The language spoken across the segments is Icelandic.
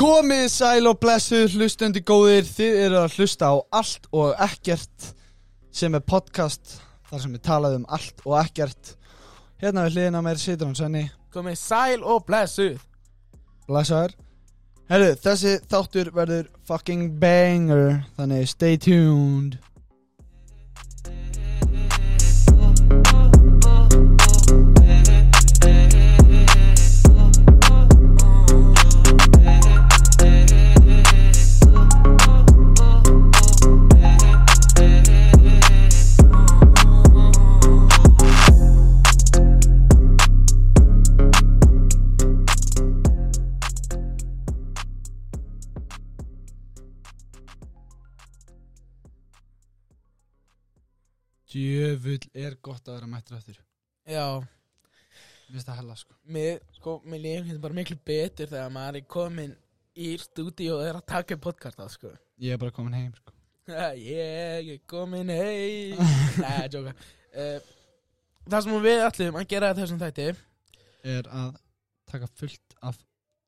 Komið sæl og blessuð, hlustandi góðir, þið eru að hlusta á allt og ekkert sem er podcast, þar sem við talaðum um allt og ekkert. Hérna við hliðina á mér situr hann Svenni, Komið sæl og blessuð blessaður. Herru, þessi þáttur verður fucking banger, þannig stay tuned. Djöfull er gott að vera mættur aftur. Já, Mér finnst það hella, sko. mér, sko, mér lífum hérna bara miklu betur þegar maður er komin í stúdíu og er að taka upp podcasta, sko Ég er bara komin heim, sko. Ég er komin heim Nei, ég jóka uh, Það sem við ætlum að gera í þessum þætti Er að taka fullt af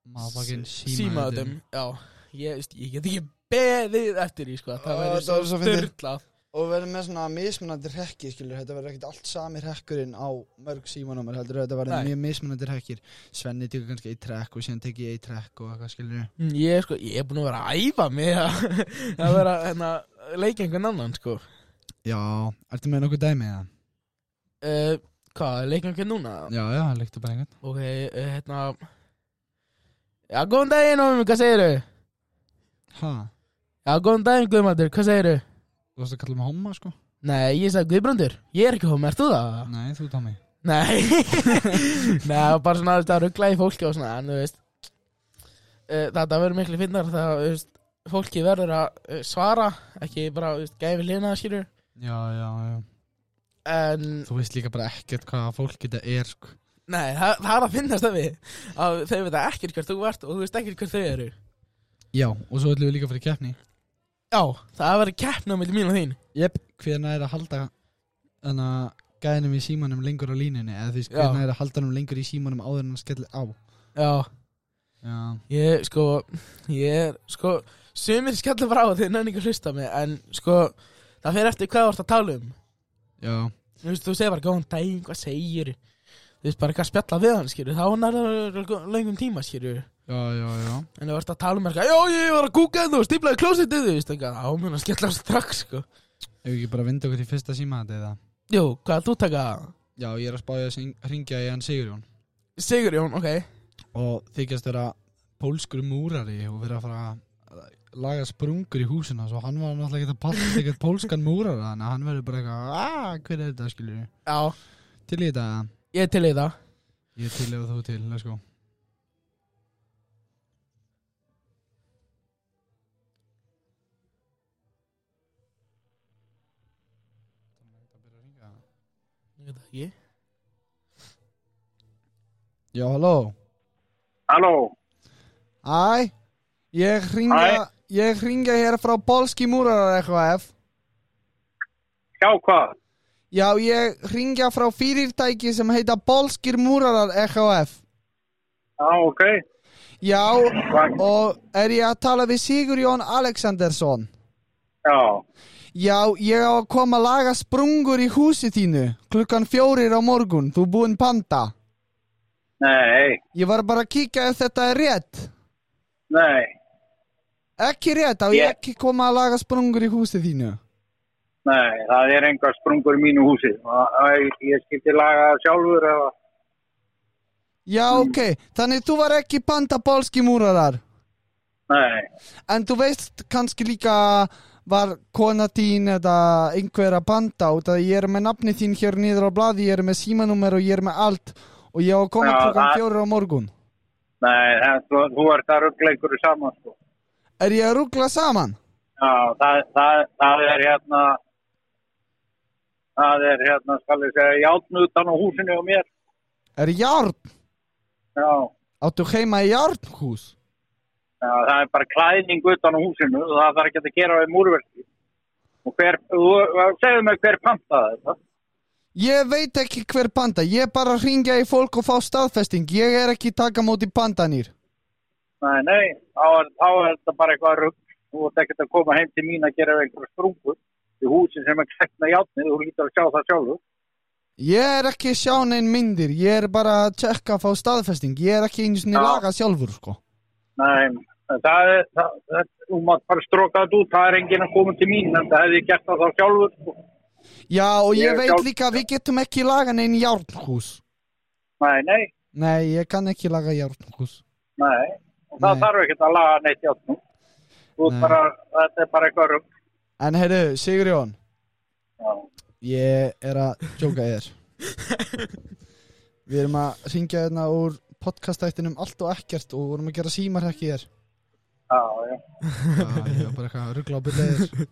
maðurfakinn Símaðum Já, ég, veist, ég get ekki beðið eftir því, sko Ó, Það verður Ah, það var svo fyndið. styrlað Og verður með svona mismunandi rekki, skilur, þetta verður ekkert allt sami rekkurinn á mörg símanúmer, heldur þetta verður Nei. mjög mismunandi rekkir. Svenni tekur kannski eitt rekk og síðan tekið ég eitt rekk og eitthvað, skilur. Ég, sko, ég er búin að vera að æfa mig að að vera, hérna, leika einhvern annan, sko Já, ertu með nokkuð dæmi eða? uh, Hvað, leika einhvern núna? Já, já, líktu bara einhvern. Ok, eh, hérna Já, góðan daginn, Ómi, hvað segirðu? Ha, Já, góðan daginn, Guðmandur, hvað segirðu? þú varst að kalla mig homma, sko? Nei, ég sagði Guðbrandur, ég er ekki hóma, ert þú það? Nei, þú tóð mig. Nei Nei, það var bara svona, þú veist, að ruggla í fólki og svona, en þú veist eh, Þetta verður miklu finnar þegar, þú veist, fólki verður að eh, svara Ekki bara, þú veist, gæfi lina, skilur Já, já, já. En, Þú veist líka bara ekkert hvaða fólk þetta er, sko. nei, það, það er að finnast það við að Þau veit ekkert hvert þú ert og þú veist ekkert hvert þau eru Já, og svo ætlum við líka fyrir keppni. Já, það verður keppna milli mín og þín Jep, hvernig er að halda þannig að gæðinum í símanum lengur á línunni eða því Já. hvernig er að halda hann lengur í símanum áður en hann skellir á Já Já, Ég, sko, ég er, sko, sumir skella frá þeir nefnir ekki að hlusta á mig, en, sko, það fer eftir hvað þú ert að tala um. já Þú veist, þú segir bara góðan daginn, hvað segir, þú veist, bara hvað spjalla við hann, skilur, þá hann er það löngum tíma, skilur. Já, já, já En þú ert að tala um eitthvað, já, ég var að kúka en þú, stíplaði klósitið, þú veist, eitthvað, þá mun að skella strax, sko. Ef við ekki bara vinda okkur í fyrsta símaðið eða Jú, hvað er þú taka? Já, ég er að spája að ringja í hann Sigurjón Sigurjón, ok. og þykjast vera pólskur múrari og vera að fara að laga sprungur í húsina svo hann var náttúrulega ekki að palla ekkert pólskan múrara þannig að hann verður bara eitthvað aaa, hver er þetta skilur Já, Til í þetta ég er til í það. Ég er til ef þú til, let's go Ég veit það ekki. Já, halló Halló, Æ, ég hringja, Æ. ég hringja hér frá Polski Múrarar EHF. hjá hvað? Já, ég hringja frá fyrirtæki sem heita Polskir Múrarar EHF. Já, ok. Já, Hvað? og er ég að tala við Sigurjón Alexandersson? Já, Já, ég á að koma að laga sprungur í húsi þínu klukkan fjórir á morgun, þú búinn panta. nei, Ég var bara að kíka ef þetta er rétt. nei, Ekki rétt, á ég Ég- ekki koma að laga sprungur í húsi þínu. nei, það er engar sprungur í mínu húsi. Það- það- Ég skipti laga það sjálfur eða, Já, ok, þannig þú var ekki panta Polski Múrarar? nei, En þú veist kannski líka var kona þín eða einhver að panta út að ég er með nafni þín hér niður á blaði, ég er með símanúmer og ég er með allt og ég á að koma Já, klokkan það- fjórir á morgun. nei, það, þú, þú ert að ruggla ykkur saman, sko. Er ég að rúgla saman? Já, það, það, það er hérna, það er hérna, skal ég segja, játn utan á húsinu og mér. Er járn? Já, Á Áttu heima í Járnhús? Já, það er bara klæðning utan á húsinu og það þarf ekki að gera við múrverki. Og hver, þú, segðu mig hver pantaði þetta. Ég veit ekki hver panta, ég bara ringja í fólk og fá staðfesting, ég er ekki taka móti pandanir. Nei, nei, þá er, þá er þetta bara eitthvað rugg. Þú ert ekkert að koma heim til mín að gera við einhverja sprungur í húsin sem er klætt með játnið, þú lítur að sjá það sjálfur. Ég er ekki að sjá neinn myndir, ég er bara að tjekka að fá staðfesting, ég er ekki einu sinni Já. laga sjálfur, sko. Nei, það er, það, það, þú mátt bara stróka þetta út, það er enginn að koma til mín, en það hefði ég gert það þá sjálfur. sko. Já, og ég, Ég er veit sjálf- líka að við getum ekki laga neinn járnhús. Nei, nei, Nei, ég kann ekki laga járnhús. nei, það Nei. þarf ekkert að laga neitt játnum. Þú ert Nei. bara, þetta er bara eitthvað rugg. En heyrðu, Sigurjón, Já. ég er að djóka þér. Við erum að ringja þarna úr podcastættinum allt og ekkert og vorum að gera símarhekki þér. Já, já. Já, ég var bara eitthvað að ruggla á byrja þér.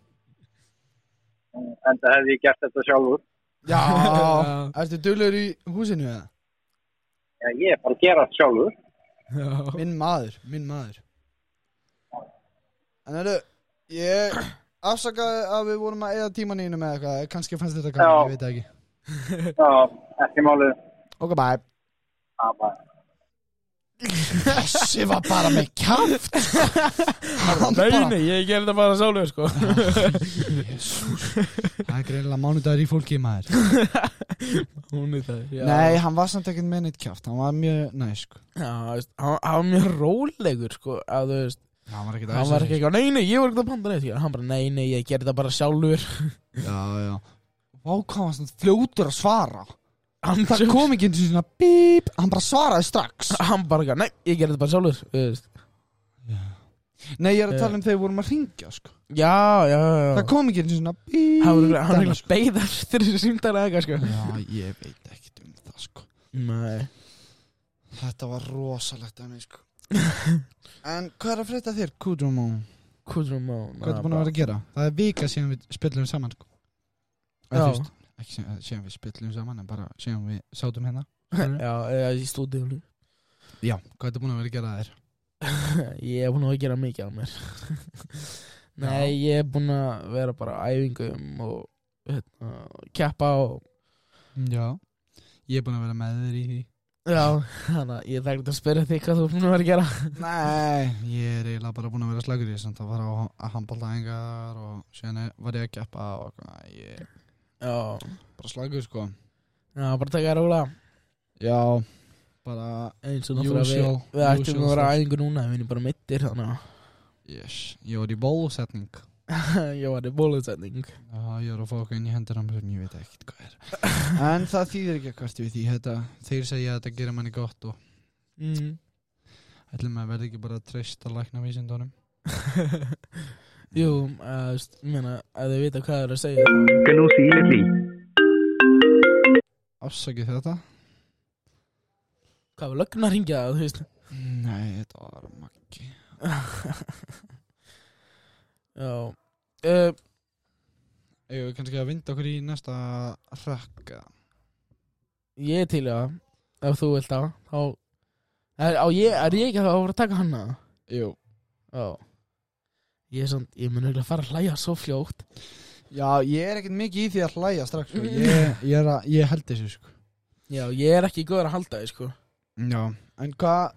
En það hefði ég gert þetta sjálfur. Já, Já. ertu dullur í húsinu eða? Já, ég er bara að gera þetta sjálfur. Já. Minn maður, minn maður En eru Ég afsakaði að við vorum að eða tíman í einu með eitthvað kannski fannst þetta Já. gaman, ég veit það ekki Já, ekki málið. Ok, bye Já, bara. Þessi var bara með kæft Hann Nei, bara nei, ég gerði þetta bara sálega, sko Jesús Það er greinilega mánudagur í fólki maður Hún er það, já Nei, hann var samt ekkert með neitt kæft Hann var mjög sko. næsk Já, þú veist, hann hann var mjög rólegur, sko að, þú veist, Hann var ekkert Hann var ekki eitthvað, nei, nei, ég var ekki að panta neitt Hann bara, nei, nei, ég gerði þetta bara sjálfur Já, já Vá, hvað var svona fljótur að svara Hann Það kom ekki eins og svona bíp Hann bara svaraði strax Hann bara, eitthvað, nei, ég gerði þetta bara sjálfur þú veist. Nei, ég er að tala um þegar við vorum að ringja sko Eh, Já, já, já Það kom ekki einu svona Hann var örugglega- hann var bítan ekki að beigða eftir þessu símdæla eða eitthvað, sko Já, ég veit ekkert um það sko Nei Þetta var rosalegt að mig sko En hvað er að frétta þér, Kudrumó? Kudrum á Hvað er búin að vera að gera? Það er vika síðan við spillum saman sko Já. Eða, þú veist, Ekki síðan, síðan við spillum saman En bara síðan við sátum hérna Já, eða í stúdíu Já, hvað er búin að vera að gera þér? Ég er búin að gera mikið á mér Nei, ég er búin að vera bara á æfingum og hérna, keppa og Já Ég er búin að vera með þér í því Já, þannig að ég þekkt að spyrja þig hvað þú er búin að vera að gera Nei, ég er eiginlega bara búin að vera slagur í þess Það var á að handbóltaðingar og síðan er- var ég að keppa og ég er Já, bara slagur sko já bara taka þér róla Já, bara eins og náttúrulega við, Usual, við ættum usual að vera á stuff. æfingu núna við erum bara mittir þannig yes. Ég var í bólusetning að ég var í bólusetning Já, ég var að fá okkur inn í hendina á mér sem ég veit ekkert hvað er En það þýðir ekki að kvartu við því þetta, Þeir segja að þetta gerir manni gott og mm. ætlum að verði ekki bara að treysta lækna vísindunum Jú, að, þú veist, ég meina að þau vita hvað þau eru að segja Afsakið þetta Hvað var lögn að ringja það, þú veist Nei, þetta var makki Já uh, Ég við kannski að vinda okkur í næsta rökk Ég er til í það ef þú vilt það þá er, á, ég, er ég ekki að það að vera að taka hana Jú Já Ég er svona, ég mun auðvitað að fara að hlæja svo fljótt Já, ég er ekkert mikið í því að hlæja strax sko. ég, ég, er að, ég held þessu sko Já, ég er ekki góður að halda því, sko Já En hvað,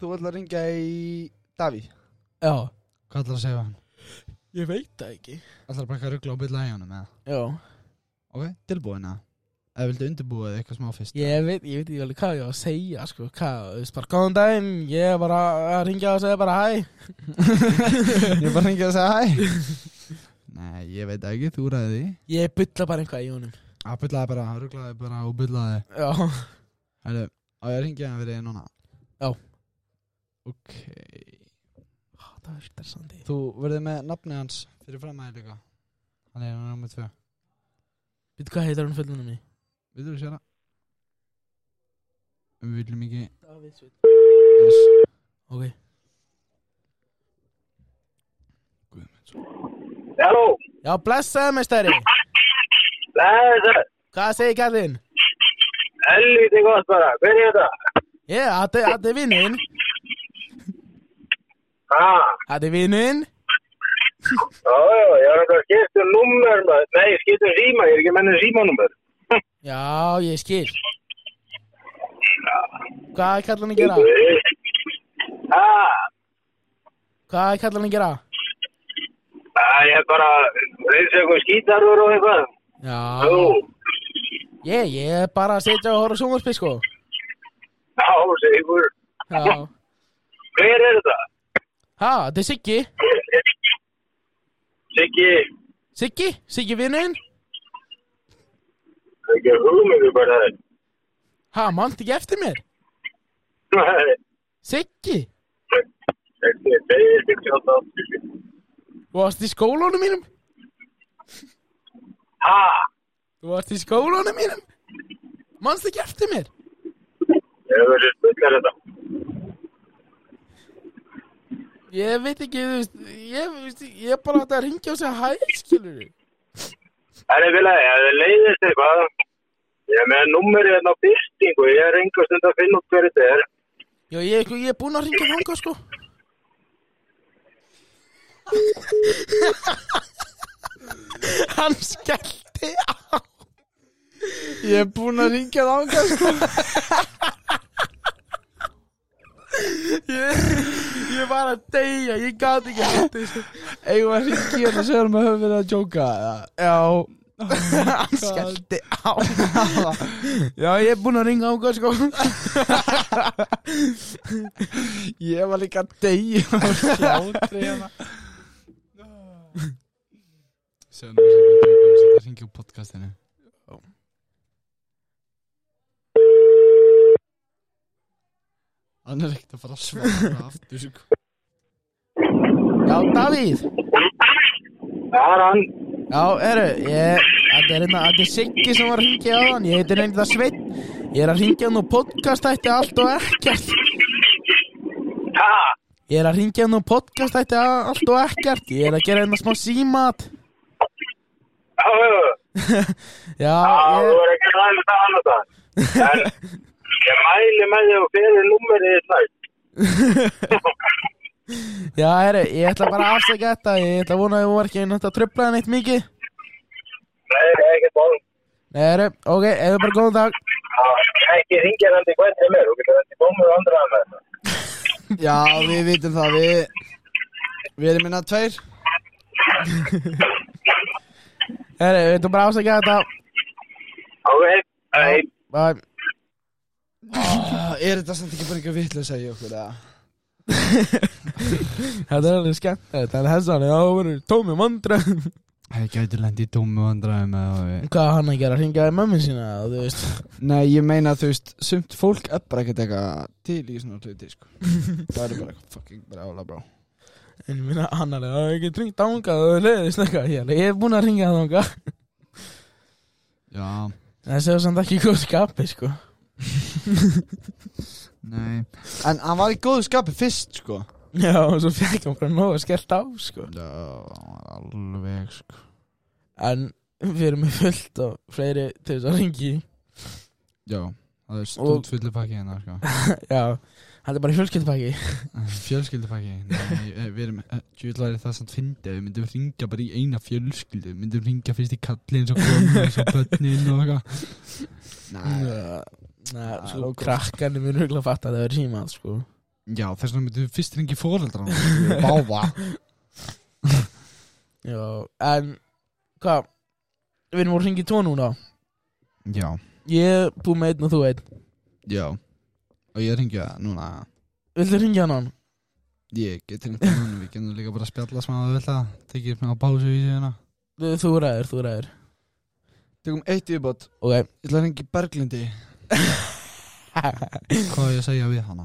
þú ætlar að ringja í Davíð Já Hvað ætlar að segja við hann? Ég veit það ekki Ætlar bara ekki að ruggla og bylla í honum eða? Já Ok, tilbúin að Eða vildu undirbúa þig eitthvað smá fyrst Ég veit, ég veit ekki alveg hvað ég var að segja sko, hvað, þú veist bara góðan daginn ég er bara að ringja og segja bara hæ Ég er bara hengið að segja hæ Nei, ég veit ekki, þú ræði því ég bylla bara eitthvað í honum Að byllaði bara, rugglaði bara og byllaði já, Hælu, á ég að hengið hann við þig núna Já. Ok það er interessandi Þú verður með nafnið hans fyrir fram aðeins líka Hann er hann nummer 2 veit hvað heitir hann fullunum í Við þurfum sér það Við viljum ekki ok, yes. Guð minn, svo- Halló, já blessaði meistari það er hvað segir kallinn helviti gott bara, hver er þetta? ég, þetta þetta er vinninn Hæ? Þetta er vinurinn Já, já, ég var eitthvað að skipta um nummer, maður. Nei, ég skipta um síma, ég er ekki mennið símanummer. Já, ég skil Hvað er kallan að gera? Hæ? Hvað er kallan að gera? Æ, ég er bara, eins og eitthvað skítarur og eitthvað. Já, Jú, ég, ég er bara að setja og horfa sjónvarpi sko já, segur. Já, Hver er þetta? ha, þetta er Siggi Siggi, Siggi, Siggi vinurinn ekki hugmyndu bara það. Ha, mannt ekki eftir mér Nei, Siggi, ekki, það er ekki alltaf aftur. þú varst í skólunum mínum Hæ? Þú varst í skólunum mínum Manst ekki eftir mér Ég verður spillar þetta. Ég veit ekki, þú veist Ég, þú veist, ég er bara að þetta ringja og segja hæ, skilur Það er vilja, ef þið leiðist eitthvað, ég er með nummerið hérna á byrtingu, ég er einhver stund að finna út hverju þetta er. Já, ég, ég er búinn að ringja þangað sko Hann skellti á Ég er búinn að um ringja það ángast Ég, ég var að deyja, ég gat ekki hætti sko. Eigum við að ringja hérna og segja um að höfum verið að djóka eða? Já Oh Hann skellti á Já, ég er búinn að ringa um þangað sko Ég var líka að deyja á hlátri hérna Sjöndum sem við tökum að setja hringi úr podcastinu Hann er ekkert að fara að svara aftur sko. Já, Davíð Það er hann. Já, herru, ég, þetta er hérna, þetta er Siggi sem var að hringja á hann, ég heitir nefnda Sveinn, ég er að hringja hann og podcastætti allt og ekkert. Ha? Ég er að hringja hann og podcastætti allt og ekkert, ég er að gera hérna smá símat. Já, já, já. Já, Já, þú ég, er ekki að ræða það annað það. En ég mæli með því og fyrir nummerið í slætt. já, herru, ég ætla bara að afsaka þetta, ég ætla að vona að þú var ekki nátt að tröfla hann eitt mikið. Nei, það er ekki ból. Nei, herru, ok, hefur bara góðan dag. Ekki ringja hann til hvernig mér, þú getur þetta bómið og andra að með það. Já, við vitum það Við, við erum hérna minna tveir Herru, ég ætla bara að afsaka þetta. Ok, hei. Bye. Ah, Er þetta samt ekki bara einhver vitlega að segja okkur eða? Þetta er alveg skemmt, þetta er hessan, já, það voru tómi vandræðum. Það gæti lendi í tómu vandræðum eða við Hvað á hann að gera, hringja í mömmin sína, þú veist. Nei, ég meina þú veist Sumt fólk er bara ekkert eitthvað til í svona hluti sko. Það er bara eitthvað fucking brála brá En ég minna annarlega, það er ekki tringt ánga og leiðist eitthvað hér, ég er búinn að ringa það ánga Já, Það séu samt ekki í góð skapi, sko nei En hann var í góðu skapi fyrst sko Já, og svo fekk hann bara nóg að skellt á, sko Já, hann var alveg sko En við erum með fullt og fleiri til þess að ringi í. Já, það er stútt fullu pakki hérna sko Já, hann er bara í fjölskyldpaki Fjölskyldupakki Nei, eh, við erum Tjúðlar er það samt fyndið Við myndum ringja bara í eina fjölskyldu Við myndum ringa fyrst í kallin Svo konun og svo bönnin og eitthvað Nei Nei, sko, krakkarnir minn hugla að fatta að það er símað, sko Já, þess vegna myndum við fyrst ringi fóreldra Báva Já, en, hvað, við erum að ringi tvo núna Já, Ég er búinn með einn og þú einn já Og ég ringja núna Viltu ringja hann hann? Ég get hringt í hann, við getum líka bara að spjalla smá að vilja, tekið smá pásu í síðuna. Þú þú ræður, þú ræður Tökum eitt yfirbót Ok, Ég ætla að ringi Berglindi Hvað á ég að segja við hana?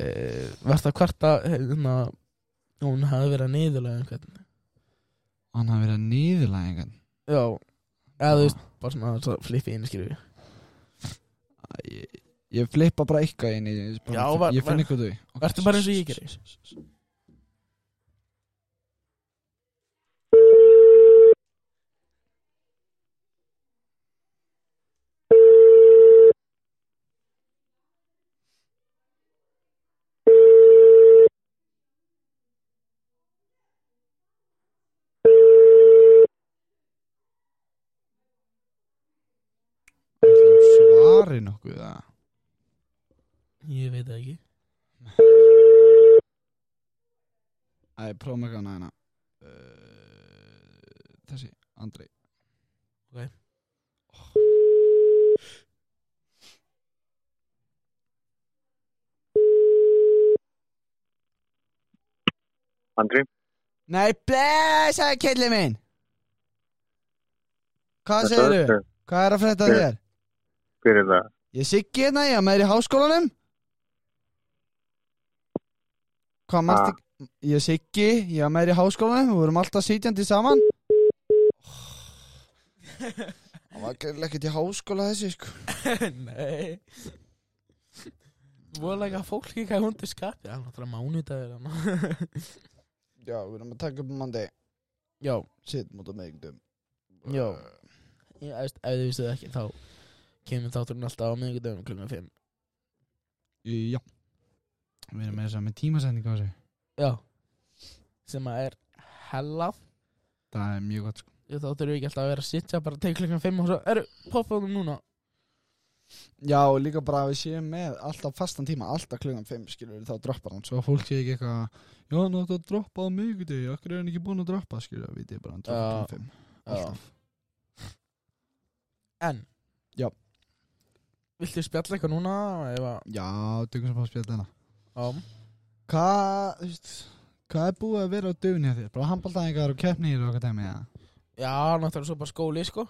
uh, varst að kvarta hérna, hún hafði verið að niðurlega einhvern Hann hafi verið að niðurlega einhvern. já, eða þú veist bara svona svo flippi inn skilju Æ, Ég, ég flippa bara eitthvað inn í, bara, Já, var- ég finn var- eitthvað þau. Okay. Vertu bara eins og ég geri. Snorri nokkuð eða? Ég veit það ekki Æ, prófum ekki hana hérna uh, Þessi, Andri Ok. Andri, Nei, blessaði killið minn Hvað segirðu? Hvað er að frétta af Ég- þér? hver er það? Ég er siggi hérna, ég er með þér í háskólanum Hvað mannst ekki? Ég er siggi, ég er með þér í háskólanum Við vorum alltaf sitjandi saman Það var greinilega ekkert í háskóla þessi sko Nei Voðalega fólk ekki hvað hundur skapi Það er náttúrulega mánudagur hérna. þarna. Já, við erum að taka upp mandi Já, Sitt mútu meðingdum já Eh, Ég veist, ef þið vissuð ekki þá kemur þátturinn alltaf á miðvikudagum klukkan 5 Í- Já Við erum með þess að segja með tímasetningu á þessu Já Sem að er hella Það er mjög gott sko Ég þá þurfum við ekki alltaf að vera að sitja bara til klukkan 5 og svo eru poppaðum núna Já, og líka bara að við séum með alltaf fastan tíma Alltaf klungan 5 skilur við þá droppar hann Svo fólk sé ekki eitthvað Já, hann átti að droppa á miðvikudegi Akkur er hann ekki búin að droppa Skilja, við þið bara hann Já. droppa um Alltaf En Já. Viltu spjalla eitthvað núna? Ef að Já, tökum sem fá að spjalla hérna Já Ah. Hvað, Ah, þú veist Hvað er búið að vera á döfni hjá þér? Bara handbóltaðingar og keppnir og eitthvað dæmi, eða? Já, náttúrulega svo bara skóli, sko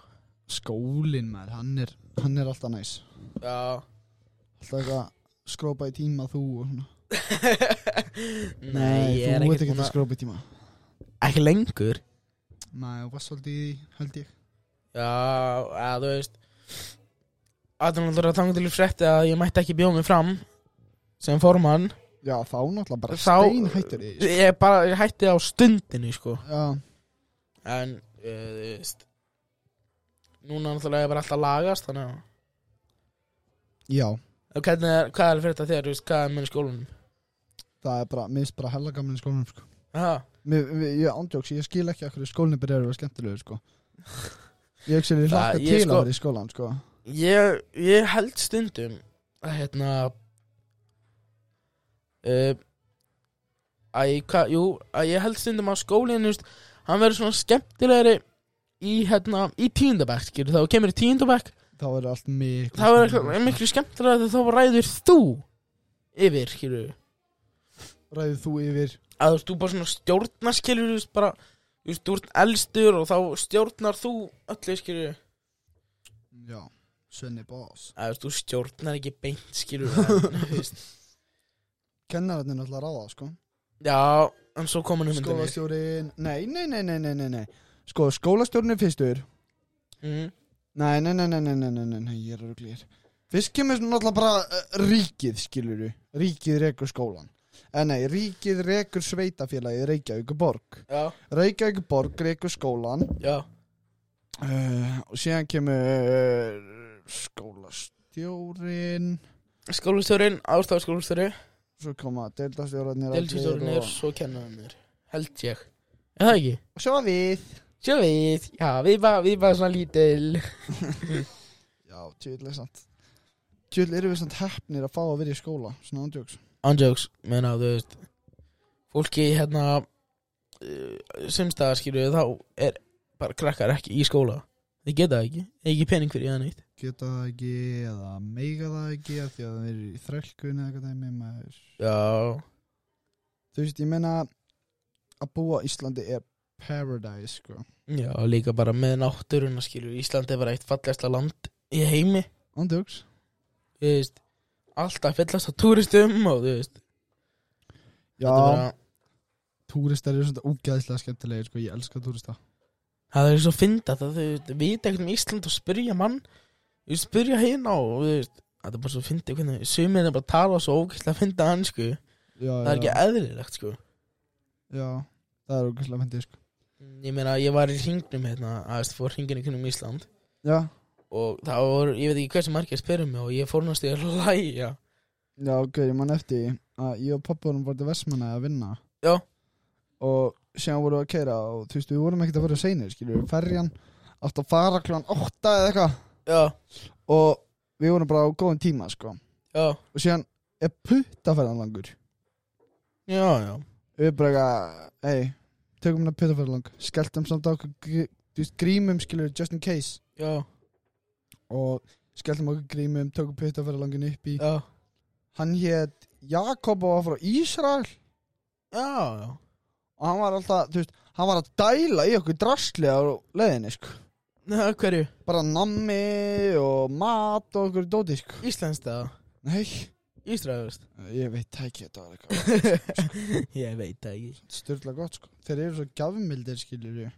Skólinn maður, hann er Hann er alltaf næs Já Alltaf eitthvað skrópa í tíma þú og svona Nei, ég er þú ekkert ert ekki búin að að skrópa í tíma Ekki lengur Nei, og var svolítið í því, held ég Já, að þú veist Aðurnáttúrulega þangur til í frétti að ég mætti ekki bjóða mig fram sem formann Já, þá náttúrulega bara Þá- stein hættur í því, Ég bara, ég hætti á stundinu, sko sko. Já, En, eh, þú veist Núna náttúrulega er bara alltaf að lagast, þannig að já Og hvernig er, hvað er fyrir þetta þér, þú veist, hvað er með skólanum? Það er bara, mér finnst bara hella gaman í skólanum sko. Aha, mér, mér, Ég ándjóks, ég skil ekki okkur skólinni byrjar að vera skemmtilegur sko. Ég hugsi að ég Það- hlakka ég til sko- að vera í skólan sko. ég, ég held stundum að, hérna uh, að, ég, hva, jú, að ég held stundum að skólinn, þú veist, hann verður svona skemmtilegri í, hérna, í tíundabæk, skilur þá, kemur í tíundabæk Þá er allt miklu þá er eitthvað- er miklu skemmtilegri þegar þá ræður þú yfir, skilur Ræðið þú yfir að þú veist, þú bara svona stjórnar, skilur, þú veist, bara þú veist, þú ert elstur og þá stjórnar þú öllu, skilur Já, Svenni Bás að þú veist, þú stjórnar ekki beint skilur en, þú veist, Kennarinn er náttúrulega ráða sko. já, en svo komin um myndinni Skólastjórin Nei, nei, nei, nei, nei, nei, nei. Sko, skólastjórin er fyrstur mm, Nei, nei, nei, nei, nei, nei, nei, nei, nei, ég er ruglir Fyrst kemur náttúrulega bara uh, ríkið, skilur Ríkið rekur skólan En nei, ríkið rekur sveitafélagið Reykjavíkuborg já, Reykjavíkuborg rekur skólan já, uh, Og síðan kemur uh, skólastjórin skólastjórin ástæða skólastjóri, Svo koma deildastjóranir deltistjórin er svo kennaðan er, held ég er það ekki, Og svo við sjá við já, við bara, við bara svona lítil Já, tjöðlega sant Tjöðlega erum við samt heppnir að fá að vera í skóla Svona ándjóks andjóks, menna, þú veist fólki hérna eh, semstaða skilur þá er bara krakkar ekki í skóla þið geta það ekki, ekki pening fyrir það neitt Geta það ekki eða meiga það ekki af Því að það er í þrælkun eða eitthvað dæmi maður já, Þú veist, ég meina að búa á Íslandi er paradise, sko já, líka bara með náttúruna skilur, Ísland er bara eitt fallegasta land í heimi Ándjóks þú veist, alltaf fyllast á túristum og þú veist, Já, þetta er bara, Túristar eru svona ógæðslega skemmtilegir sko, ég elska túrista það er svo fynda það þau vita ekkert um Ísland og spyrja mann, þú veist, spyrja hérna og þú veist, það er bara svo fyndi hvernig, sumir er bara að tala svo ógæslega að fynda hann sko, já, það er ekki eðlilegt sko. Já, það er okkur slæmandi, sko Ég meina, ég var í hringnum hérna, að þú veist, fór hringinu kynum Ísland Já, og það voru, ég veit ekki hversu margir að spyrja mig og ég fór náttúrulega að læja, já, ok, ég man eftir því að ég og pappa vorum bara til Vestmanna að vinna Já. Og síðan vorum við að keira og þú veist, við vorum ekkert að vera seinir, skilur við Ferjan átt að fara klán 8 eða eitthvað já, og við vorum bara á góðum tíma sko já, og síðan er puttaferðan langur já, já við bara eitthvað ei, tökum hérna puttaferðan lang skelltum samt á okkur gr- þú veist, grímum skilur just in case já, og skelltum okkur grímum tökum puttaferðan langin upp í já, hann hétt Jakob og var frá Ísrael já, já. og hann var alltaf, þú veist, hann var að dæla í okkur drasli á leiðinni sko Næ, hverju? bara nammi og mat og okkur dóti sko Íslenskt eða? nei, Ísrael, veist ég veit það ekki þetta var eitthvað Ég veit það ekki styrla gott sko þeir eru svo gafmildir skilur ég Já,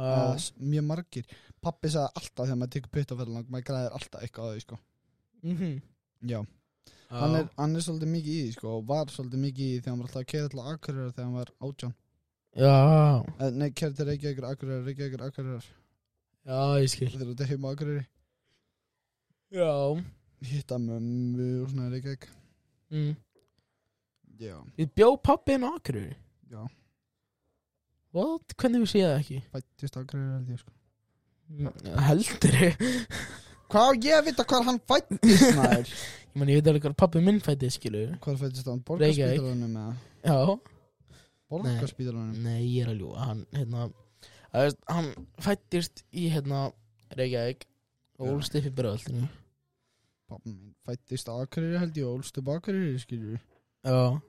Ah, uh, mjög margir pappi sagði alltaf þegar maður tekur puttaferðalang maður græðir alltaf eitthvað á því sko mhm já, Já. Hann, er, hann er svolítið mikið í því sko og var svolítið mikið í því þegar hann var alltaf að keira til Akureyrar þegar hann var átján Já, Eh, nei, keira til Reykjavíkur, Akureyrar, Reykjavíkur, Akureyrar já, ég skil þegar þetta heima á Akureyri Já hitta mömmu og svona í Reykjavík mm. já, Við bjó pappi inn á Akureyri já, What? Hvernig við séð það ekki? Mm, fættist Akureyrar held ég sko Heldur ég hvað á ég að vita hvar hann fættist maður Ég man, ég veit alveg hvað pappi minn fættið, skilu hvar fættist hann, Reykjavík. borgarspítalanum eða Já borgarspítalanum Nei, ég er að ljúga Hann, hérna að veist, Hann fættist í, hérna, Reykjavík Og Já. úlst upp í bröðaltinu pappi minn fættist á Akureyri held ég og ólstu bakureyri skilur Já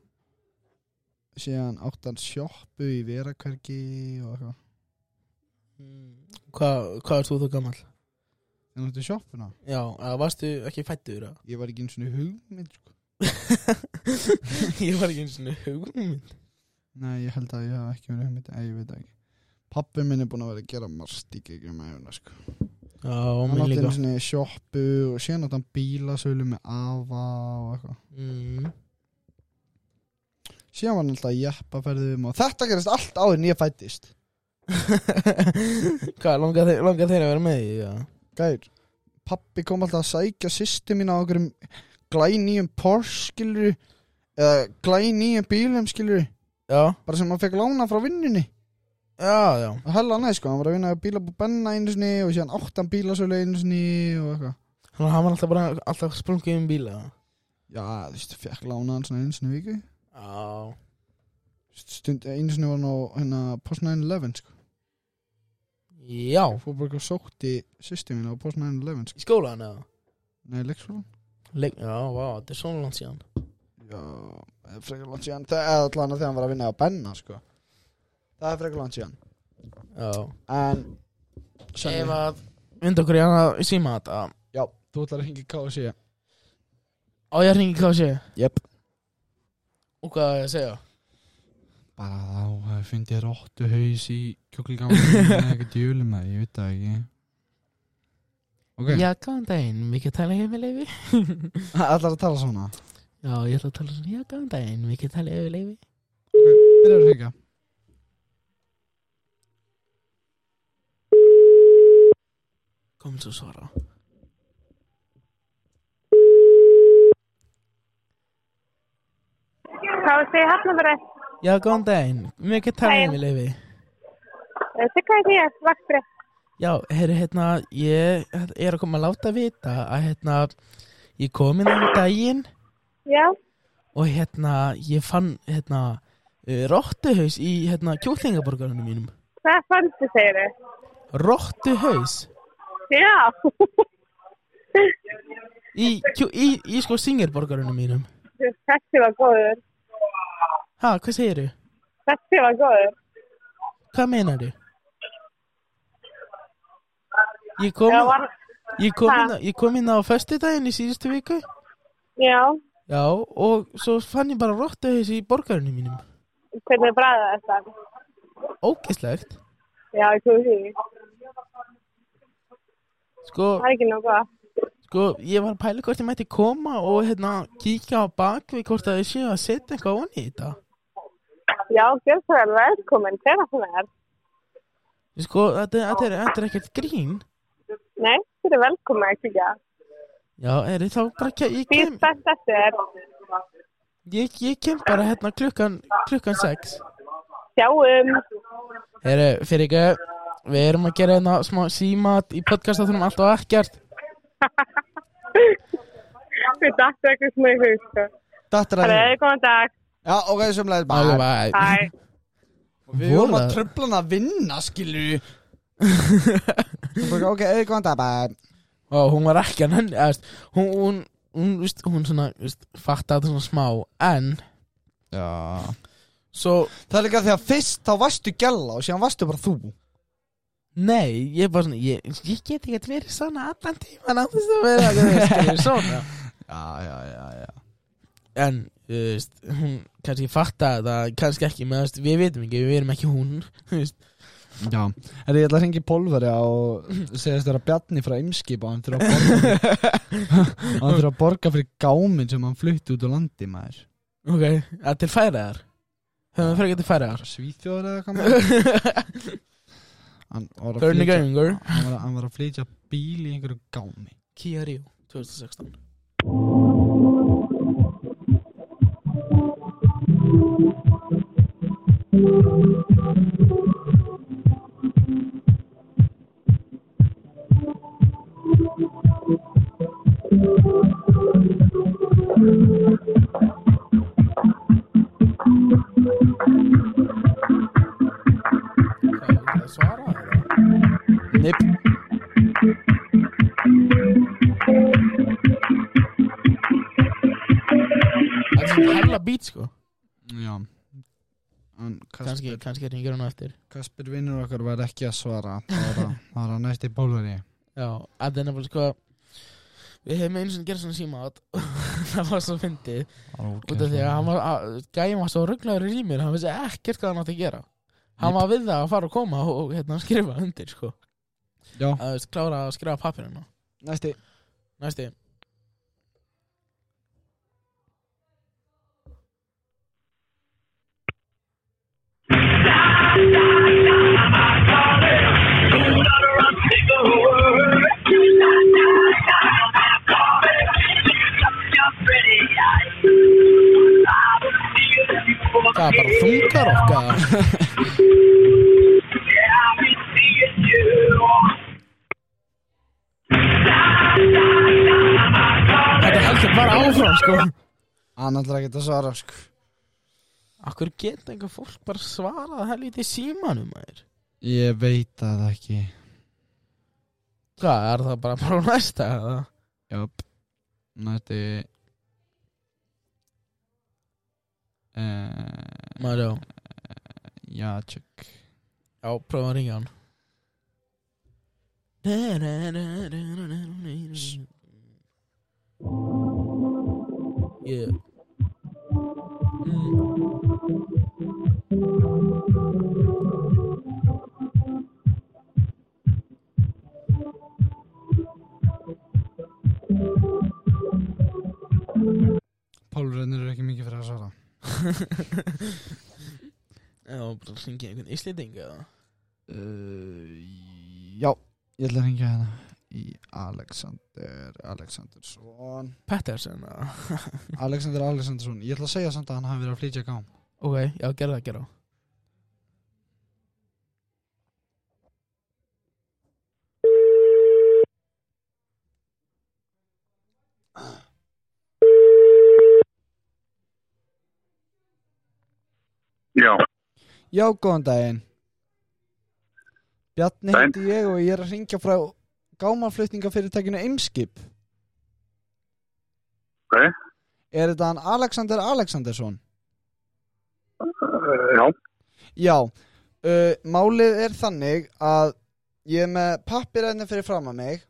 síðan átti hann sjoppu í verakverki og eitthvað Mm. Hvað, hvað er þú þú gammal? en átti sjoppuna Já, að varstu ekki fættur að ég var ekki eins og hugmynd sko. Ég var ekki eins og hugmynd nei ég held að ég hef ekki verið hugmynd eða ég veit það ekki pappi minn er búin að vera að gera marst í gegnum meðuna sko. Já, hann minn átti líka eins og sjoppu og síðan átti hann bílasölu með afa og eitthvað mm. síðan var hann alltaf í jeppaferðum og þetta gerist allt áður en ég fættist Hvað, langar þeir, langar þeir að vera með því? Já, gær pappi kom alltaf að sækja sýsti mín á okkurum glænýjum Porsche skilur eða glænýjum bílum skilur já, bara sem hann fekk lána frá vinnunni já, já. og hella næ sko, hann var að vinna á bílabú benna einu sinni og síðan áttan bílasölu einu sinni og eitthvað Þannig að hann var alltaf bara alltaf sprungið um bíla já, þú veist, fekk lána hann svona einu sinni í viku Já, Þú veist, stund, einu sinni var hann á hérna Post 911 sko, já fór bara eitthvað sótti sýsti mín á Post 911 sko, Í skólan eða? nei, leikskólan Leik, já, vá, þetta er svona langt síðan já, það er frekar langt síðan það er allan að þegar hann var að vinna á benna sko það er frekar langt síðan Já en Ef Svenni, að Vind okkur í annað síma þetta já, þú ætlar að hengja KFC Á ég að hringi hvað að segja Jep. Og hvað á ég að segja Bara þá hafi fundið róttu haus í kjóklingáma eða eitthvað djölum að ég veit það ekki Ok, Já, góðan daginn, við getum talað yfir leifi allar að tala svona Já, ég ætla að tala svona, já, góðan daginn, við getum talað yfir leifi byrjar að hengja Komum svo svara KFC Hafnarbæri. Já, góðan daginn, við getum talað Hæ. yfir leifi Sikkaði eh, því að vaktri. Já, herru, hérna, ég er að koma að láta vita að, hérna, ég kom inn á daginn Já, og, hérna, ég fann, hérna, róttuhaus í, hérna, kjúklingaborgarunum mínum. hvað fannstu segir þau? Róttuhaus Já. í, kjú, í, í, sko, singerborgarunum mínum. Þessi var góður. Ha, hvað segirðu? Þessi var góður. Hvað meinarðu? Ég kom, Já, var... ég kom, Ha? inn, á- ég kom inn á föstudaginn í síðustu viku Já, Já, og svo fann ég bara róttuhaus í borgarunum mínum. hvernig bræða þetta? Ógeslegt. Já, ég trúi því. Sko, Það er ekki nóg gott. Sko, ég var að pæla hvort ég mætti koma og hérna kíkja á bakvið hvort að þið séu að setja eitthvað onni í þetta. Já, gjörð svo vel velkomin, hver að það er. Sko, þetta, þetta, er, þetta er ekkert grín. Nei, þið er velkomin að kíkja. Já, er þá bara, ke- ég Býr kem, best eftir þér. ég, ég kem bara hérna klukkan, klukkan sex. Sjáum. Herru, fyrir ekki, við erum að gera hérna smá símat í podcastatunum allt og ekkert. Þessi datt eitthvað sem ég hug, sko. Dattur að Það þér er góðan dag. Já, ok, sömulega Bye, Bye. bye. Hæ. Við vorum Voru- að tröfla hann að vinna, skilju Ok, eða góðan dag bye. og hún var ekki að nenni eða, veist, hún, hún, hún, veist, hún svona veist, fatta þetta svona smá en Já svo, Það er líka því að fyrst þá varstu gælla og síðan varstu bara þú nei, ég er bara svona ég, ég get ekki að vera svona allan tíman á þess að vera þú veist, skilur, svona Já, já, já, já en þú veist, hún kannski fatta þetta kannski ekki, með, veist, við vitum ekki við erum ekki hún þú veist. Já, Herri, ég ætla að hringi í Pólverja og segist þér að Bjarni frá Eimskipa og hann þurfa að borga hann þurfa að borga fyrir gáminn sem hann flutti út á landi maður ok, að til færiðar höfum við fyrir ekki til færiðar Svíþjóður eða hvað maður hann var, að Bernie flytja, Göringur hann, var að, hann var að flytja bíl í einhverju gámi Kia Rio 2016 Hvað, svara það? Nip Það er svona hella bít sko já En Kanski, Kasper, kannski ringir hann á eftir Kasper vinnur okkar var ekki að svara það var að- það var að næst í Pólveri Já, að það er nefnilega sko Við hefum einu sinni gerð svona símátt Það var svo fyndið Út af því að hann var að- Gæði var svo rugglaður í rímir Hann vissi ekkert hvað hann átti að gera Hann var við það að fara og koma og hérna, skrifa undir sko Já. Að þú veist, klára að skrifa papirinn Næsti Næsti Það er bara þungar okkar Þetta heldur bara áfram sko Hann ætlar ekki að svara sko Akkur geta einhver fólk bara svarað helviti símanum maður Ég veit það ekki Hvað, er það bara bara á næsta? eða? Jöp Næsti uh, Maður, já Já, tjökk Já, prófa að ringja hann Yeah mm. Pólverðnir eru ekki mikið fyrir að svara Já, bara hringja einhvern íslending eða uh, Já, ég ætla að hengja hérna Í Alexander Alexandersson Pettersson eða Alexander Alexandersson Ég ætla að segja samt að hann hafi verið að flytja gám Ok, já, gerða það, gerða Já, Já, góðan daginn Bjarni Daginn. heiti ég og ég er að ringja frá gámaflutningafyrirtækinu Eimskip Ok. Er þetta hann Alexander Alexandersson? já, Já, uh, málið er þannig að ég er með pappiræðinu fyrir fram að mig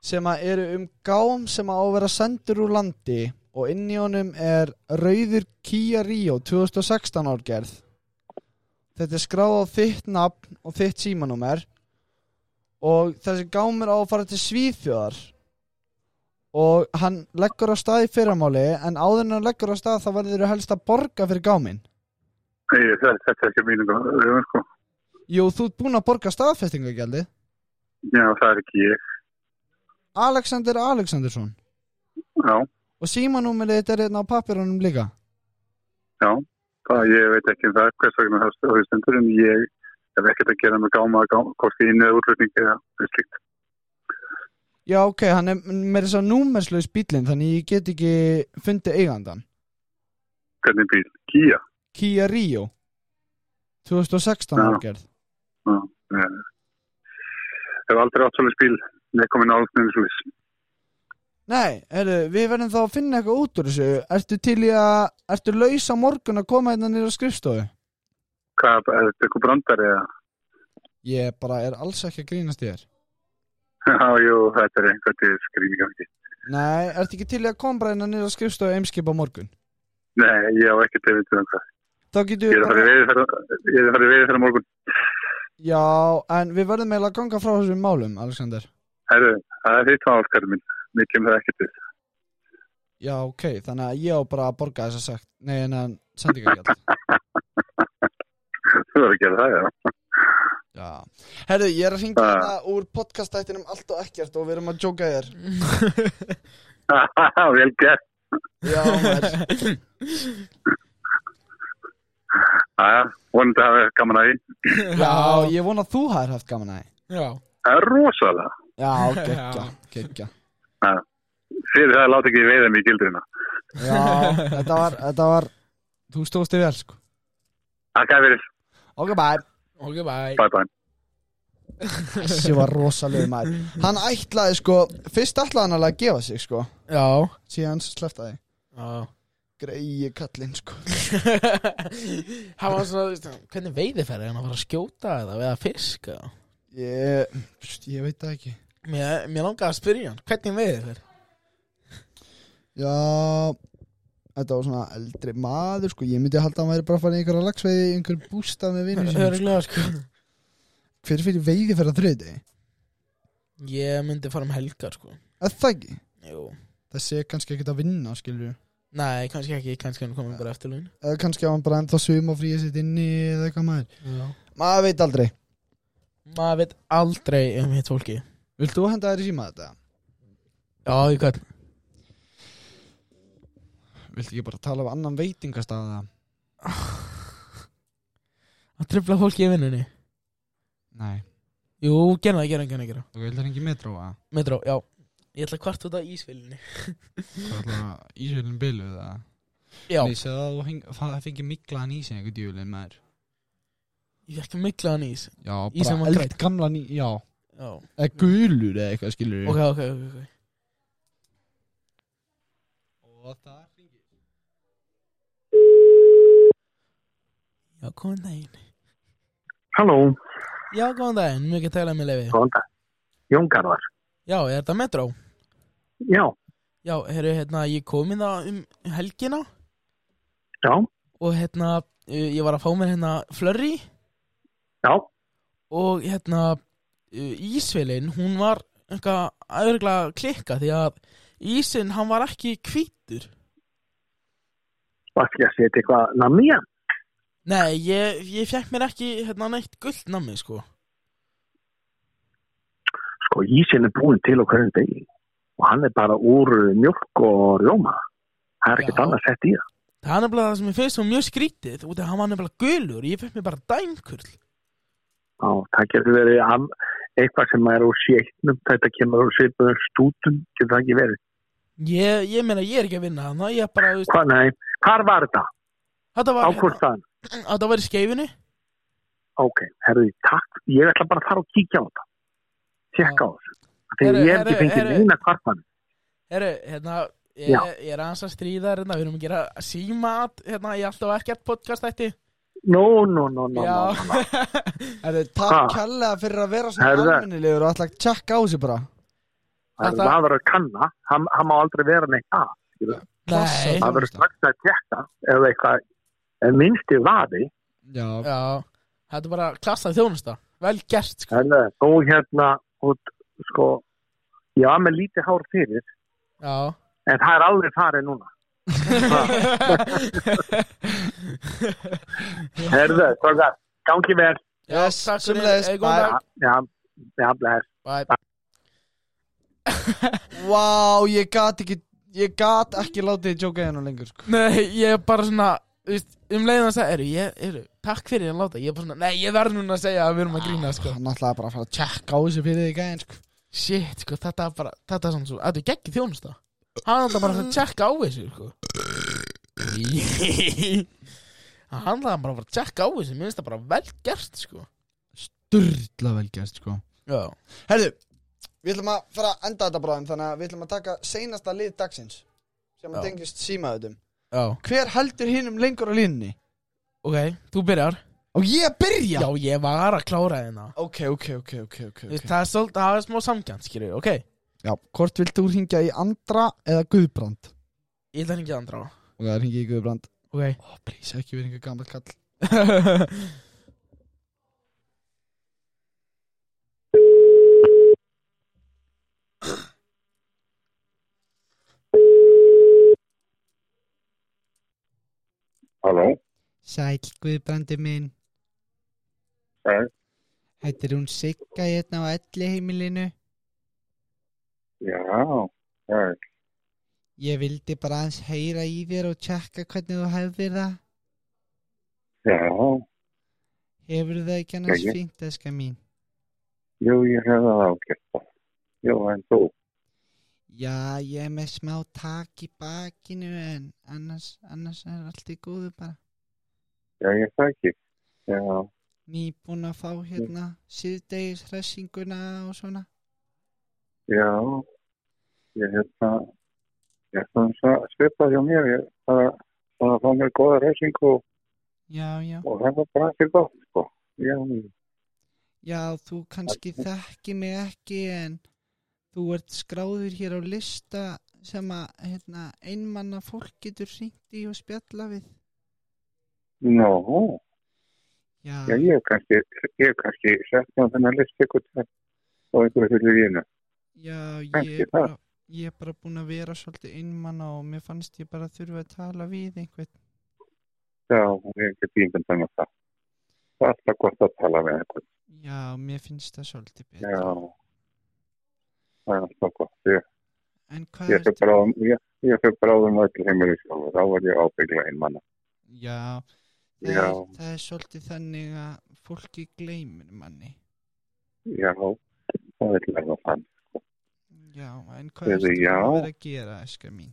sem að eru um gám sem að á að vera sendur úr landi og inn í honum er Rauður Kia Rio 2016 árgerð Þetta er skráð á þitt nafn og þitt símanúmer og þessi gám er á að fara til Svíþjóðar og hann leggur á stað í fyrramáli en áður en hann leggur á stað þá verður þú helst að borga fyrir gáminn Nei, þetta þetta er ekki mínu röðum, sko. Jú, þú ert búinn að borga staðfestingagjaldi Já, það er ekki ég. Alexander Alexandersson Já, Og símanúmerið þetta er hérna á pappirunum líka já. Það, ég veit ekki um það hvers vegna það stöðu stendur, en ég hef ekkert að gera með gáma, gáma, hvorki inn eða útlutning eða slíkt. Já, ok, hann er með þess að númerslaus bílinn Þannig ég get ekki fundið eigandan hvernig bíl, Kia Kia Rio 2016 Já. árgerð Eh, hef aldrei átt svolítið bíl neitt komið nátt neins svolítið Nei, heru, við verðum þá að finna eitthvað út úr þessu Ertu til í að, ertu laus á morgun að koma hérna nýra skrifstofu? hvað, er þetta eitthvað brandar eða Ég bara er alls ekki að grínast í þér já, jú, þetta er einhvern til skrýning gangi Nei, ertu ekki til í að koma bara hérna nýra skrifstofu eimskip á morgun? nei, ég á ekki til um hvað Þá getum við ég er að fara í veiðiferð- ég er að fara í veiði þegar morgun Já, en við verðum eiginlega að ganga frá þessum málum, Alexander herru, það er þitt áskar minn mér kemur það ekki til Já, ok, þannig að ég á bara að borga þess að sagt Nei, en að sendingargjald þú verður að gera það, já Já, herru, ég er að ringa Ah. hérna úr podcastættinum allt og ekkert og við erum að jóka þér vel gert Já, maður. Jæja, vonandi að hafa gaman að því já, ég vona að þú hafðir haft gaman að því Já, það er rosalega Já, geggja, geggja fyrir það láti ekki veiða mig í gildurina Já, þetta var, þetta var Þú stóðst yfir vel, sko það gæði verið, Ok, bye ok, bye bye bye Þessi var rosalega maður Hann ætlaði, sko, fyrst ætlaði hann alveg að gefa sig, sko Já, Síðan sleftaði já Greiði kallinn, sko Hann var svona, þú veist, hvernig veiðiferð er hann að fara að skjóta eða eða fiska? Ég, ég veit það ekki Mér, mér langaði að spyrja hann, hvernig veiðiferð? Já Þetta var svona eldri maður sko Ég myndi halda að hann væri bara að fara í einhverja lagsveiði í einhver bústað með vinnu sinni Öruglega, sko Hver fyrir veiði fyrir að þriði Ég myndi fara um helgar, sko Er það ekki? Jú Þessi er kannski ekkert að vinna skilur Nei, kannski ekki, kannski hann komið bara eftir laun Eða kannski að hann bara ennþá sum og fríið sitt inni eða eitthvað maður Já Maður veit aldrei Maður veit aldrei um hitt fólki Vilt þú henda þér í síma þetta? Já, ég kann Vilt ekki bara tala um annan veitingastaða? Að tripla fólki í vinnunni Nei Jú, gerna það, gerna, gerna, gerna Þú vildur ekki metróa Metró, já Ég ætla að kvart út af ísvilinni Hvað er það, ísvölinn biluð það Já, Nei, segðu að þú heng, það fengi miklaðan í sig einhver djúlinn maður ég fekk miklaðan ís Já, Í sem bara var eld grænn. gamla ný, já Já, Eða gulur eða eitthvað skilur ok, ok, ok, ok Og það fengi Já, góðan daginn halló, Já, góðan daginn, mjög ekki að tala með leifi góðan dag Jón Garðar, Já, er þetta metró? já, Já, herru, hérna, ég kom inn það um helgina já, og hérna, uh, ég var að fá mér hérna flurri já og hérna uh, ísvelin, hún var eitthvað öðruglega klikka því að ísin, hann var ekki hvítur varst ekki að setja eitthvað namíja Nei, ég, ég fekk mér ekki hérna neitt gullt nammi, sko sko ísinn er búin til á hverjum degi og hann er bara úr mjölk og rjóma það er ekkert Já. annað sett í það Það er nefnilega það sem ég finnst svo mjög skrítið út af að hann var nefnilega gulur, ég fekk mér bara dæmkurl Já, það getur verið af, eitthvað sem er úr sétnum þetta kemur úr svipuður stútum getur það ekki verið Ég, ég meina, ég er ekki að vinna þannig að ég bara, þú veist, Hva, nei, hvar var þetta? þetta var hérna, Ákvörstaðan? þetta var í skeifinu Ok, herðu, takk ég ætla bara að fara og kíkja á þetta Já. tjekka á þessu þegar Herru, ég hef ekki herru, fengið herru. neina kvartan Herru, hérna, ég, Já. ég er aðeins að stríða hérna, við erum að gera símat hérna, ég alltaf ekkert podcast þætti no, no, no, no, no, no. Já, Er þið takk Ha. kærlega fyrir að vera Herðu. svona almennilegur og ætla að tjekka á sig bara það Þetta- það verður að kanna hann, hann má aldrei vera neitt að nei það verður strax að tjekka ef eitthvað ef minnsti vaði Já, Já, þetta er bara klassað þjónusta Vel gert, sko En eh, þó hérna, út, sko, ég var með lítið hár fyrir, Já en það er alveg farið núna. Herðu, strókar, gangi vel. Yes, takk fyrir, sömuleiðis, eh, góðan bye. dag. Já, já, bless. Bye Vá, ég gat ekki Ég gat ekki látið þið jóka hérna lengur sko. Nei, ég er bara svona þú veist, um leiðan að segja, eru, ég, eru, takk fyrir að láta, ég er bara svona, nei, ég verð núna að segja að við erum að grína, sko. Hann ætlaði bara að fara að tjekka á þessu fyrir því gæðin sko. Shit, sko, þetta er bara, þetta er svona svo, þetta er geggi þjónusta Hann ætlaði bara að tjekka á þessu, sko Hann ætlaði bara að fara að tjekka á þessu, mér finnst það bara vel gert, sko Sturla vel gert sko Já Herðu, við ætlum að fara að enda þetta bráðum Þannig að við ætlum að taka seinasta lið dagsins Sem Já. að tengist símaðutum Já Hver heldur hinum lengur á línni? Ok, þú byrjar Og ég að byrja? Já, ég var að klára þeirna Ok, ok, ok, ok, ok, okay. ok Það er svolítið, það er smá samkjönd, skilju, ok Já, hvort vilt þú hringja í Andra eða Guðbrand? Ég ætla ekki að andra á Og það hringi í Guðbrand Ok Ó, please, ekki verið einhver gammal kall Halló, Sæl, Guðbrandi minn Sæl. Þetta er hún Sigga hérna á elli heimilinu já, já, Ég vildi bara aðeins heyra í þér og tjekka hvernig þú hefðir það já, Hefur það ekki annars Jæja. fínt, eska mín jú, ég hef það ágætt það. Jú, en þú, Já, ég er með smá tak í bakinu en annars, annars er allt í góðu bara já, ég þakki, já, Nýbúin að fá hérna síðdegis hressinguna og svona já, ég hef það, ég hef það svipað hjá mér, ég það, það að fá mér góða reysingu og, Já, já, og það var bara ekki gott, sko, já, já, þú kannski þekki mig ekki en þú ert skráður hér á lista sem að, hérna, einmanna fólk getur hringt í og spjalla við nú, Já, já, ég hef kannski, ég hef kannski sett mér á þennan list ykkur til og einhverju fyrir vínu, já, ég kannski er bara, ég er bara búin að vera svolítið einmanna og mér fannst ég bara þurfa að tala við einhvern já, ég hef ekki tímund þannig það. Það er alltaf gott að tala við einhvern. Já, mér finnst það svolítið betra Já, það er alltaf gott. Ég, En hvað ég um. er fyrir bráðum, ég, ég fyrir bráðum öll heimur í sjálfur. Þá var ég ábyggla einmanna. Já, það, Já, Er, það er svolítið þannig að fólki gleymir manni. já, það er lega þann. Já, en hvað er Heyrðu, það já. að vera að gera, eska mín?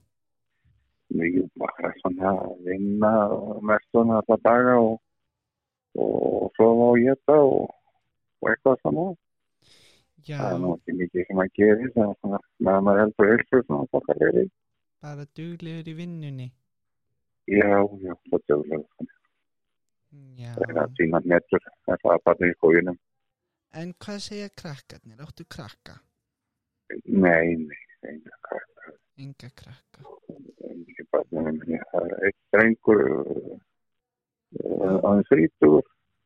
Ég bara svona að vinna mest svona alla daga og, og sofa og geta og, og eitthvað svona. Já, Það er nú ekki mikið sem að gera það er svona, meðan maður heldur hilsu svona fokkalegri. bara duglegur í vinnunni. Já, já, það er dögulega svona. Já, Það er að sína nettur, það er að barnið í skóginum. en hvað segja krakkarnir? Áttu krakka? Nei, nei, nei, hvað Enga krakka. Ég bara, ég meina, það er eitt drengur aðeins rítur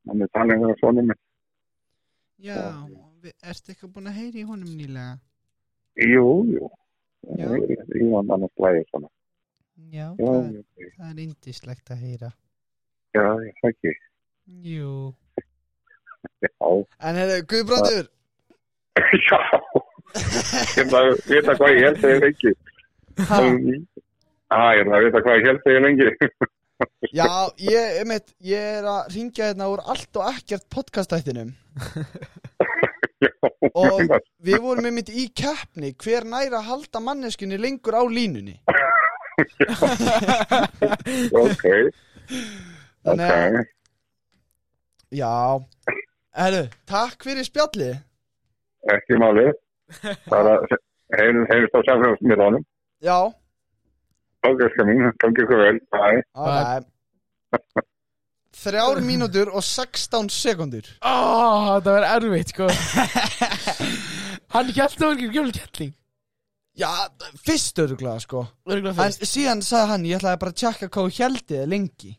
hann er talað um svona minn Já, og við- ertu eitthvað búin að heyri í honum nýlega? jú, jú Já. Ég- ég var annars lægið svona Já, já, það, já, já, það er indislegt að heyra. já, ég þekki Jú. já, En herðu, Guðbrandur já ég bara vita hvað ég held þegar lengi ha, Æ, ég bara vita hvað ég held þegar lengi Já, ég, einmitt, ég er að ringja hérna úr allt og ekkert podcastættinum já, Og- já, Við vorum einmitt í keppni Hver næra halda manneskunni lengur á línunni ok ok, Þannig að, já Herðu, takk fyrir spjalli ekki máli bara heyrðist á samfélagsmiðlunum Já, ok, skal mín, gangi ykkur vel bye alveg Þrjár mínútur og 16 sekundur Ó, þetta verður erfitt, sko Hann held það var ekki gjöld kettling Já, fyrst öruglega sko Örgulega En fyrst síðan sagði hann, ég ætlaði bara að tjekka hvað þú heldið lengi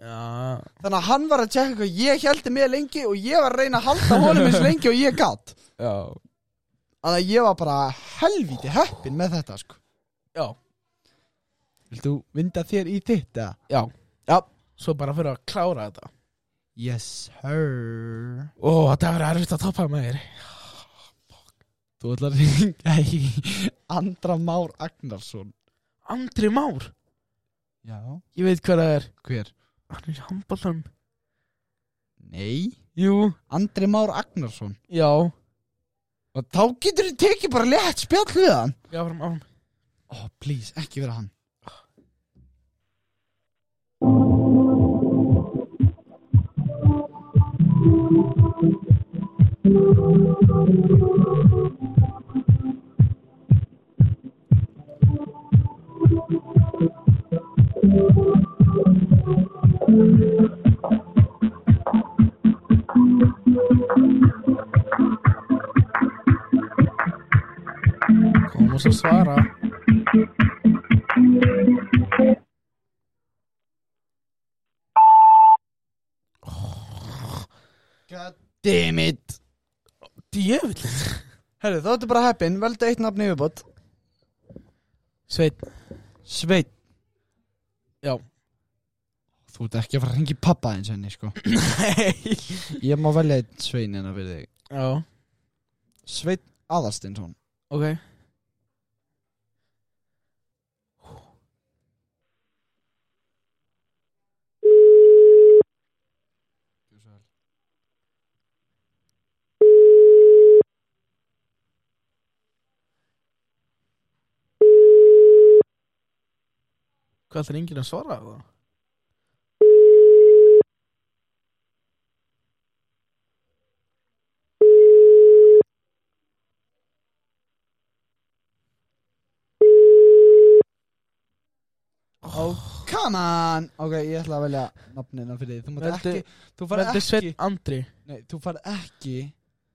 Já Þannig að hann var að tjekka hvað ég heldi mig lengi og ég var að reyna að halda honum eins lengi og ég gatt Já Þannig að ég var bara helvíti heppin með þetta sko Já, Vilt þú vinda þér í þitt eða? já, Já svo bara fyrir að klára þetta Yes, sir. Ó, þetta verður erfitt að toppa með þér Þú ætlar að ringa í... Andra Már Agnarsson Andri Már, Já, ég veit hver það er hver? Hann er í handbóltanum Nei, Jú, Andri Már Agnarsson. já og þá getur þú tekið bara létt spjall við hann Já, fram áfram Ó, please, ekki vera hann Kom og svo svara God damn it Djöfull Herru, þá ertu bara heppin, veldu eitt nafn yfirbót Sveit Sveit Já. Þú ert ekki að fara að ringi pappa eins henni, sko Nei Ég má velja eitt sveinina fyrir þig Já, Sveit Aðarstinsson ok Hvað ætlar enginn að svara það? Come on Ok, ég ætla að velja nafnina fyrir þig Þú mátt Veldu- ekki Þú far Veldu ekki Sveit Andri Nei, þú far ekki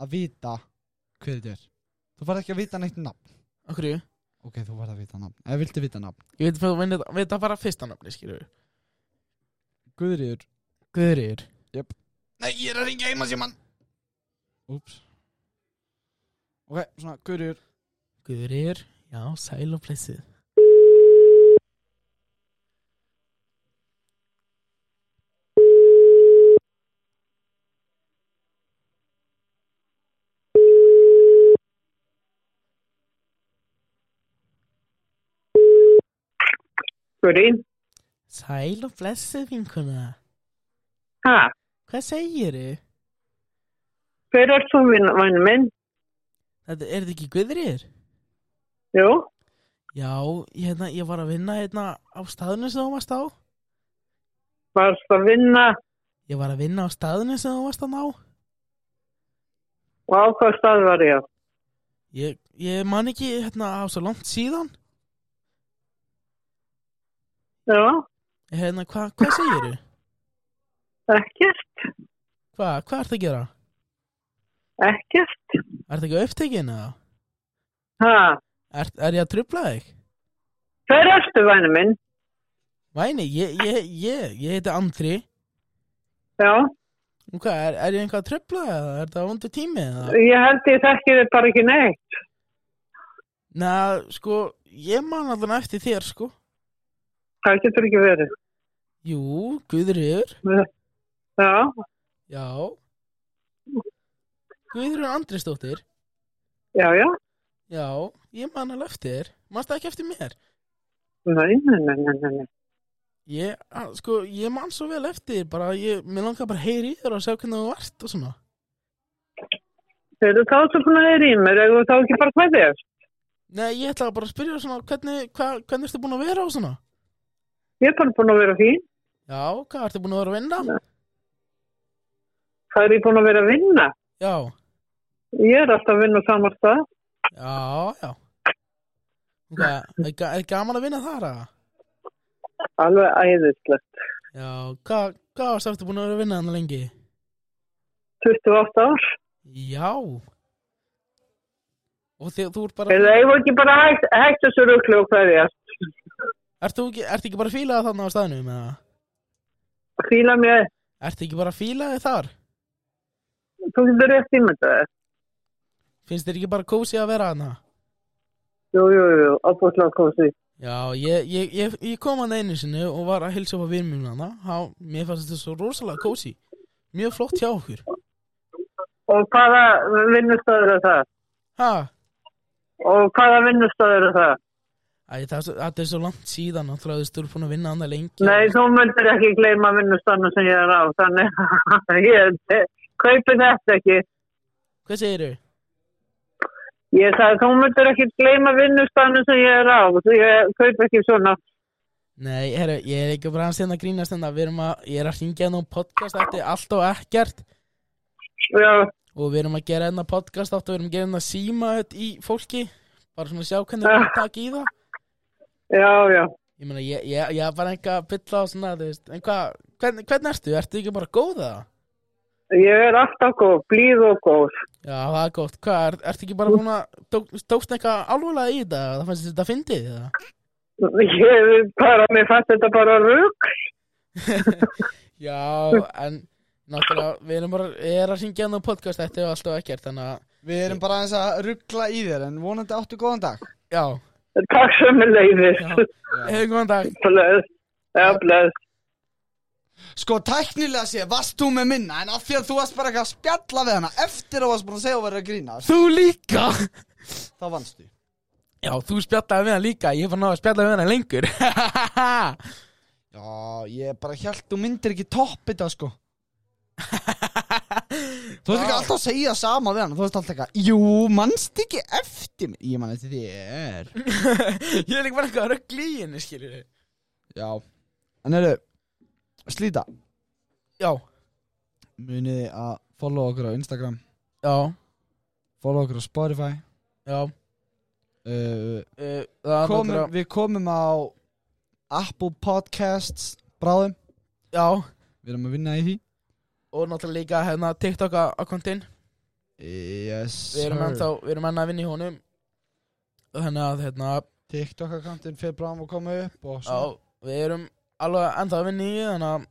að vita hver þetta er Þú far ekki að vita neitt nafn Akkur ég? Ok, þú far að vita nafn Eða viltu vita nafn Ég veit að við þetta bara fyrsta nafni, skilur við Guðriður Guðriður Nei, ég er að ringa heima sér mann Úps Ok, svona, Guðriður Guðriður, já, sæl og blessið Guri, Sæl og blessið, vinkuna ha, Hvað segir þið? hver er þú minn, mann minn? Þetta, er þetta ekki Guðriður? Jú, Já, ég, hérna, ég var að vinna hérna á staðinu sem þú varst á varst að vinna Ég var að vinna á staðinu sem þú varst að ná og á hvað stað var ég? á? Ég, ég man ekki hérna á svo langt síðan Já, Hérna, hva, hvað segir þið? ekkert, Hva, hvað ertu að gera? ekkert, Ertu ekki upptekinn eða? ha, Er, er ég að trubla þig? hver er þú mann minn? Væni, ég, ég, ég, ég heiti Andri Já, Og hvað, er, er ég einhvað að trubla þig eða? Er þetta vondur tími eða? ég held ég þekki þið bara ekki neitt. Næ, sko, ég man allan eftir þér, sko Það getur ekki verið. Jú, Guðriður Já, Já Guðrún Andrisdóttir já, já, Já, ég man alveg eftir Manst það ekki eftir mér? nei, nei, nei, nei, nei, nei. Ég, að, sko, ég man svo vel eftir bara, ég, mér langar bara að heyra í þér og sjá hvernig þú vart og svona Eru þá svo búin að þeir í mér, eða þá ekki bara hvað þér? Nei, ég ætla bara að spyrja svona hvernig, hva, hvernig ertu búin að vera og svona Ég er bara búin að vera fín. Já, hvað ertu búin að vera að vinna? Hvað er ég búin að vera að vinna? Já, Ég er alltaf að vinna á samar stað. já, já Hvað, er, ga- er gaman að vinna þar að? Alveg æðislegt. Já, hvað, hvað varstu eftir búin að vera að vinna þannig lengi? 28 ár. Já Og þegar þú ert bara Eða ég var ekki bara hægt, hægt þessu ruglu og hverja. Ert þú ekki, ert ekki bara að fíla þannig á staðnum eða? Fíla mér, Ert ekki bara að fíla þig þar? þú getur rétt ímyndað þér. Finnst þér ekki bara kósi að vera hana? Jú, jú, jú, ábúðslega kósi. Já, ég, ég, ég, ég kom hann einu sinni og var að hilsa upp á vinn minn hana Há, Mér fannst þetta svo rosalega kósi Mjög flott hjá okkur Og hvaða vinnustöður er það? Ha? Og hvaða vinnustöður er það? Æ, það, er svo- þetta er svo langt síðan Náttúrulega þú stur búin að vinna hana lengi Nei, þú myndir ekki gleyma vinnustanna sem ég er á, þannig að ég kaupi þetta ekki. Hvað segirðu? Ég sagði, þú myndir ekki gleyma vinnustanum sem ég er á. Því ég kaup ekki svona. Nei, herru, ég er ekki bara að senda grínast en við erum að, ég er að hringja nú podcast eftir allt og ekkert Já, og við erum að gera enna podcast átt og við erum að gera enna síma hérna í fólki bara svona að sjá hvernig við erum að taka í það já, já. ég meina, ég, ég, ég er bara einhver að bylla á svona, þú veist, en hvað hvernig, hvernig ertu, ertu ekki bara góð eða? Ég er alltaf góð, blíð og góð. Já, það er gott, hvað, er, ertu ekki bara búin að tók, tókst eitthvað alveglega í þetta það fannst þetta fyndið eða? Ég bara, mér fannst þetta bara rugg. Já, en náttúrulega, við erum bara, ég er að syngja nú podcast eftir og allt og ekkert, þannig að Við erum bara aðeins að ruggla í þér en vonandi áttu góðan dag já, Takk sem er leiðis. já, hefur góðan dag Bless. Já, bless. Sko tæknilega sé, varst þú með minna en af því að þú varst bara eitthvað að spjalla við hana eftir að varst búin að segja og verið að grína Þú líka þá vannst þú Já, þú spjallaði við hann líka, ég var náðu að spjalla við hann lengur Já, ég bara held þú myndir ekki toppið það sko Þú veist ekki alltaf að segja sama við hana Þú veist alltaf eitthvað Jú, mannst ekki eftir mér Ég man eftir þér Ég er líka bara eitthvað að röggla í henni, skilur Já En eru, slíta Já, Muniði að follow okkur á Instagram já, Follow okkur á Spotify já uh, uh, það er komum, náttúrulega- Við komum á Apple Podcasts Bráðum Já, Við erum að vinna í því og náttúrulega líka hérna TikTok-akkontinn Yes Við erum ennþá, við erum enn að vinna í honum Þannig að, hérna, TikTok akkantinn fyrir bráðum að koma upp og já, svona við erum alveg ennþá að vinna í því, Þannig að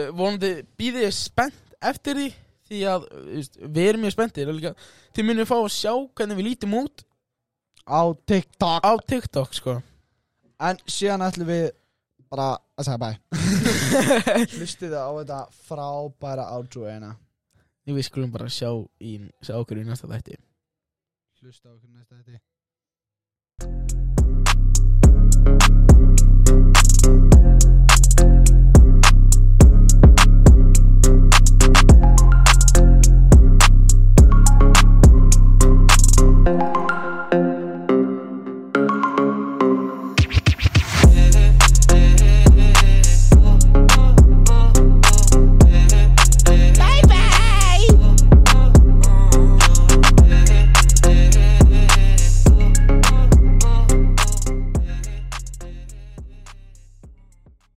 uh, vonandi býðið ég spennt eftir því Því að, uh, þú veist, við erum mjög spenntir og líka, Þið munum fá að sjá hvernig við lítum út Á TikTok á TikTok, sko En síðan ætlum við bara að segja bæ Hlustið á þetta frábæra outro hérna. eina Við skulum bara sjá, í, sjá okkur í næsta þætti Hlusta okkur næsta þetta